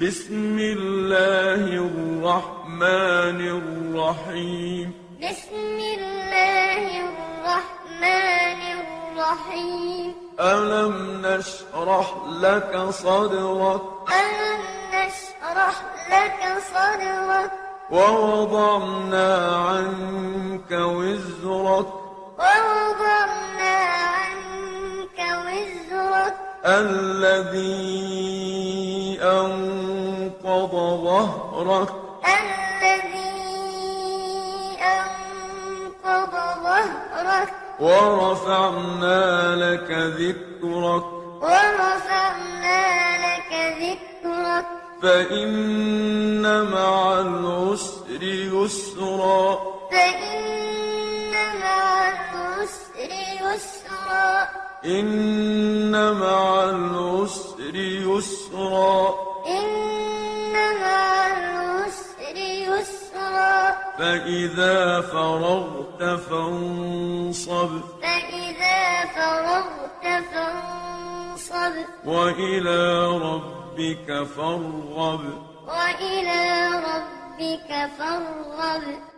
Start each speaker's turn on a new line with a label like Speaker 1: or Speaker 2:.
Speaker 1: بسم الله الرحمن الرحيم
Speaker 2: بسم الله الرحمن الرحيم
Speaker 1: ألم نشرح لك صدرك
Speaker 2: ألم نشرح لك صدرك
Speaker 1: ووضعنا عنك وزرك
Speaker 2: ووضعنا عنك وزرك الذي
Speaker 1: أنقض ظهرك
Speaker 2: الذي أنقض ظهرك
Speaker 1: ورفعنا لك ذكرك
Speaker 2: ورفعنا لك ذكرك
Speaker 1: فإن مع العسر يسرا
Speaker 2: فإن مع العسر يسرا
Speaker 1: إن مع العسر يسرا
Speaker 2: إن مع العسر يسرا
Speaker 1: فإذا فرغت فانصب
Speaker 2: فإذا فرغت فانصب
Speaker 1: وإلى ربك فارغب
Speaker 2: وإلى ربك فارغب